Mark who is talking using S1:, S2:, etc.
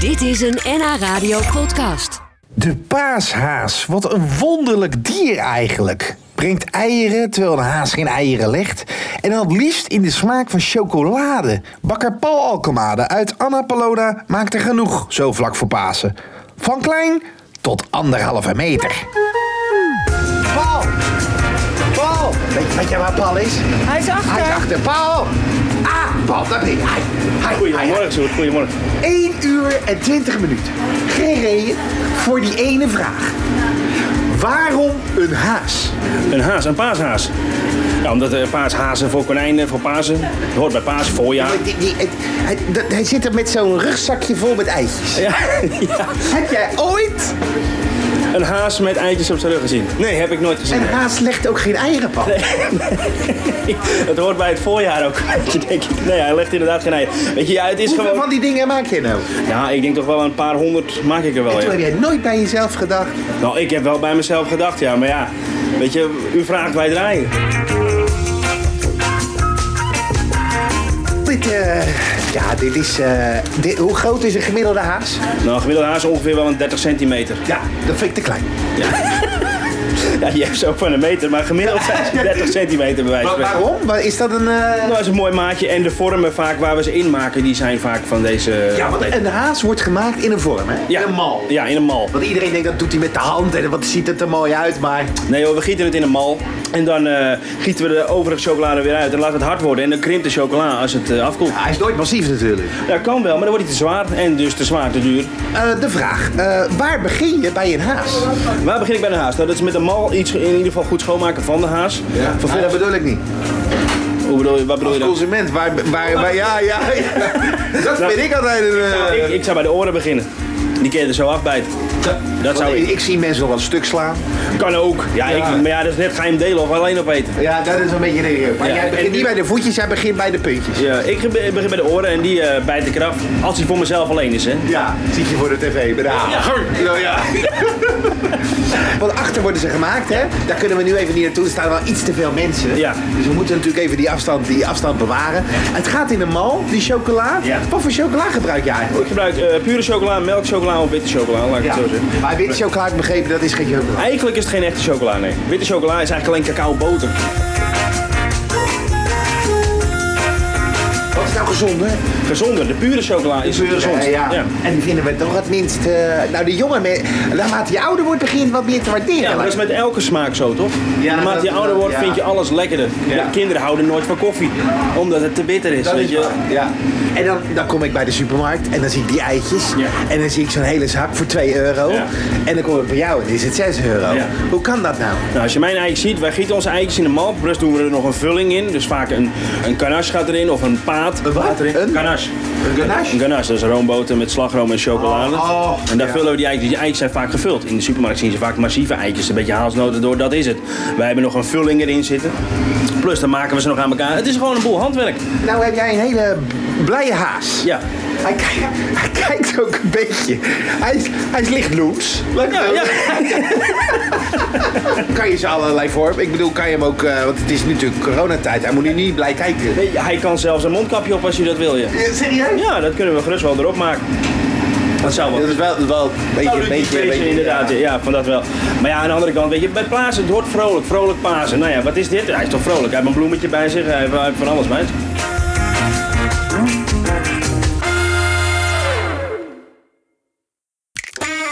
S1: Dit is een NH Radio podcast.
S2: De paashaas, wat een wonderlijk dier eigenlijk. Brengt eieren terwijl een haas geen eieren legt. En dan het liefst in de smaak van chocolade. Bakker Paul Alkemade uit Annapolona maakt er genoeg, zo vlak voor Pasen. Van klein tot anderhalve meter. Paul! Paul! Weet, weet je waar Paul is?
S3: Hij is achter.
S2: Hij is achter. Paul! Ah, Paul, daar ben je. Hij, hij, hij,
S4: Goedemorgen, Sjoerd. Goedemorgen.
S2: 1 uur en 20 minuten. Gereden voor die ene vraag. Waarom een haas?
S4: Een haas, een paashaas. Ja, omdat eh, paashazen voor konijnen, voor Pasen. Dat hoort bij Paas, voorjaar.
S2: Die, die, het- hij, dat- hij zit er met zo'n rugzakje vol met eitjes.
S4: Ja, ja.
S2: Heb jij ooit?
S4: Een haas met eitjes op zijn rug gezien? Nee, heb ik nooit gezien.
S2: Een haas legt ook geen eieren, Paul.
S4: Het hoort bij het voorjaar ook. Denk ik. Nee, hij legt inderdaad geen ei. Weet je, ja, het is
S2: Hoeveel
S4: gewoon... Oh,
S2: van die dingen maak je nou?
S4: Ja, ik denk toch wel een paar honderd maak ik er wel.
S2: Toen
S4: Ja.
S2: heb jij nooit bij jezelf gedacht.
S4: Nou, ik heb wel bij mezelf gedacht, ja. Maar ja, weet je, u vraagt, wij draaien.
S2: Dit, eh, ja, dit is... eh, dit- hoe groot is een gemiddelde haas?
S4: Nou, gemiddelde haas ongeveer wel een 30 centimeter.
S2: Ja, dat vind ik te klein.
S4: Ja, je hebt zo van een meter, maar gemiddeld zijn ze 30 centimeter bij wijze van
S2: Maar
S4: spreken.
S2: waarom? Waar- Is dat een... eh,
S4: Nou, dat is een mooi maatje en de vormen vaak waar we ze in maken, die zijn vaak van deze...
S2: Ja, want een haas wordt gemaakt in een vorm, hè?
S4: Ja.
S2: In een mal.
S4: Ja, in een mal.
S2: Want iedereen denkt dat doet hij met de hand en wat ziet het er mooi uit, maar
S4: Nee hoor, we gieten het in een mal en dan eh, gieten we de overige chocolade weer uit en laten het hard worden en dan krimpt de chocola als het eh, afkoelt.
S2: hij is nooit massief natuurlijk.
S4: Dat kan wel, maar dan wordt hij te zwaar en dus te zwaar, te duur.
S2: Eh, de vraag, eh, waar begin je bij een haas?
S4: Waar begin ik bij de haas? Nou, dat is met een mal iets in ieder geval goed schoonmaken van de haas.
S2: Nou, dat
S4: Vervolgens,
S2: bedoel ik niet.
S4: hoe bedoel je, wat bedoel je dan?
S2: Consument, waar, waar, waar- ja, ja, ja. Dat
S4: Nou,
S2: vind ik altijd een... eh,
S4: Nou, ik, ik zou bij de oren beginnen. Die kun je er zo afbijten. Dat
S2: want
S4: zou
S2: ik,
S4: ik.
S2: ik zie mensen al wat stuk slaan.
S4: Kan ook. Ja, Ik, maar ja, dat is net ga je hem delen of alleen opeten.
S2: Ja, dat is een beetje de Maar
S4: Ja,
S2: jij begint
S4: en-
S2: niet bij de voetjes, jij begint bij de puntjes.
S4: Ja, ik gebe- begin bij de oren en die eh bijt ik eraf. Als hij voor mezelf alleen is, hè.
S2: Ja, zie je voor de tv. bij de haas. Nou ja. Want achter worden ze gemaakt, hè? Daar kunnen we nu even niet naartoe. Er staan wel iets te veel mensen.
S4: Ja.
S2: Dus we moeten natuurlijk even die afstand, die afstand bewaren. Het gaat in een mal, die chocola.
S4: Ja.
S2: Wat voor chocola gebruik je eigenlijk?
S4: Ik gebruik eh, pure chocola, melkchocola of witte chocola, laat ik het zo zeggen.
S2: Maar witte chocola, heb ik begrepen, dat is geen chocola.
S4: Eigenlijk is het geen echte chocola, nee. Witte chocola is eigenlijk alleen cacaoboter.
S2: Wat is nou gezonder?
S4: Gezonder, de pure chocola is gezond.
S2: Ja, ja. En die vinden we toch het minst... eh, nou, de jongen, me- naarmate je ouder wordt, begint wat meer te waarderen.
S4: Ja, maar dat is met elke smaak zo, toch?
S2: Ja,
S4: Naarmate je
S2: dat-
S4: ouder wordt,
S2: ja.
S4: vind je alles lekkerder.
S2: Ja.
S4: De kinderen houden nooit van koffie, omdat het te bitter is,
S2: Dat
S4: weet
S2: is
S4: je.
S2: waar, ja. En dan, dan kom ik bij de supermarkt en dan zie ik die eitjes.
S4: Ja.
S2: En dan zie ik zo'n hele zak voor 2 euro.
S4: Ja.
S2: En dan kom ik bij jou en dan is het 6 euro.
S4: Ja.
S2: Hoe kan dat nou?
S4: Nou, als je mijn eitjes ziet, wij gieten onze eitjes in de mal. Plus doen we er nog een vulling in. Dus vaak een, een ganache gaat erin of een paat.
S2: Een wat?
S4: Gaat erin.
S2: Een?
S4: ganache.
S2: Een ganache?
S4: Een ganache, dat is roomboter met slagroom en chocolade.
S2: Oh, oh,
S4: en daar
S2: ja.
S4: vullen we die eitjes. Die eitjes zijn vaak gevuld. In de supermarkt zien ze vaak massieve eitjes. Een beetje haalsnoten door, dat is het. Wij hebben nog een vulling erin zitten. Plus dan maken we ze nog aan elkaar. Het is gewoon een boel handwerk.
S2: Nou heb jij een hele blije haas.
S4: Ja.
S2: Hij, ki- hij kijkt ook een beetje. Hij is, hij is licht loens.
S4: Ja, ja.
S2: Kan je ze allerlei vormen? Ik bedoel, kan je hem ook... eh, want het is nu natuurlijk coronatijd. Hij moet nu niet blij kijken.
S4: Nee, Hij kan zelfs een mondkapje op als je dat wil. Ja,
S2: Eh, Serieus?
S4: ja dat kunnen we gerust wel erop maken. Dat zou wel.
S2: Dat is wel, wel een beetje...
S4: Nou, Beetje, beetje, inderdaad, ja. van dat wel. Maar ja, aan de andere kant, weet je, bij Pasen, het hoort vrolijk, vrolijk Pasen. Nou ja, wat is dit? Hij is toch vrolijk, hij heeft een bloemetje bij zich, hij heeft, hij heeft van alles bij zich.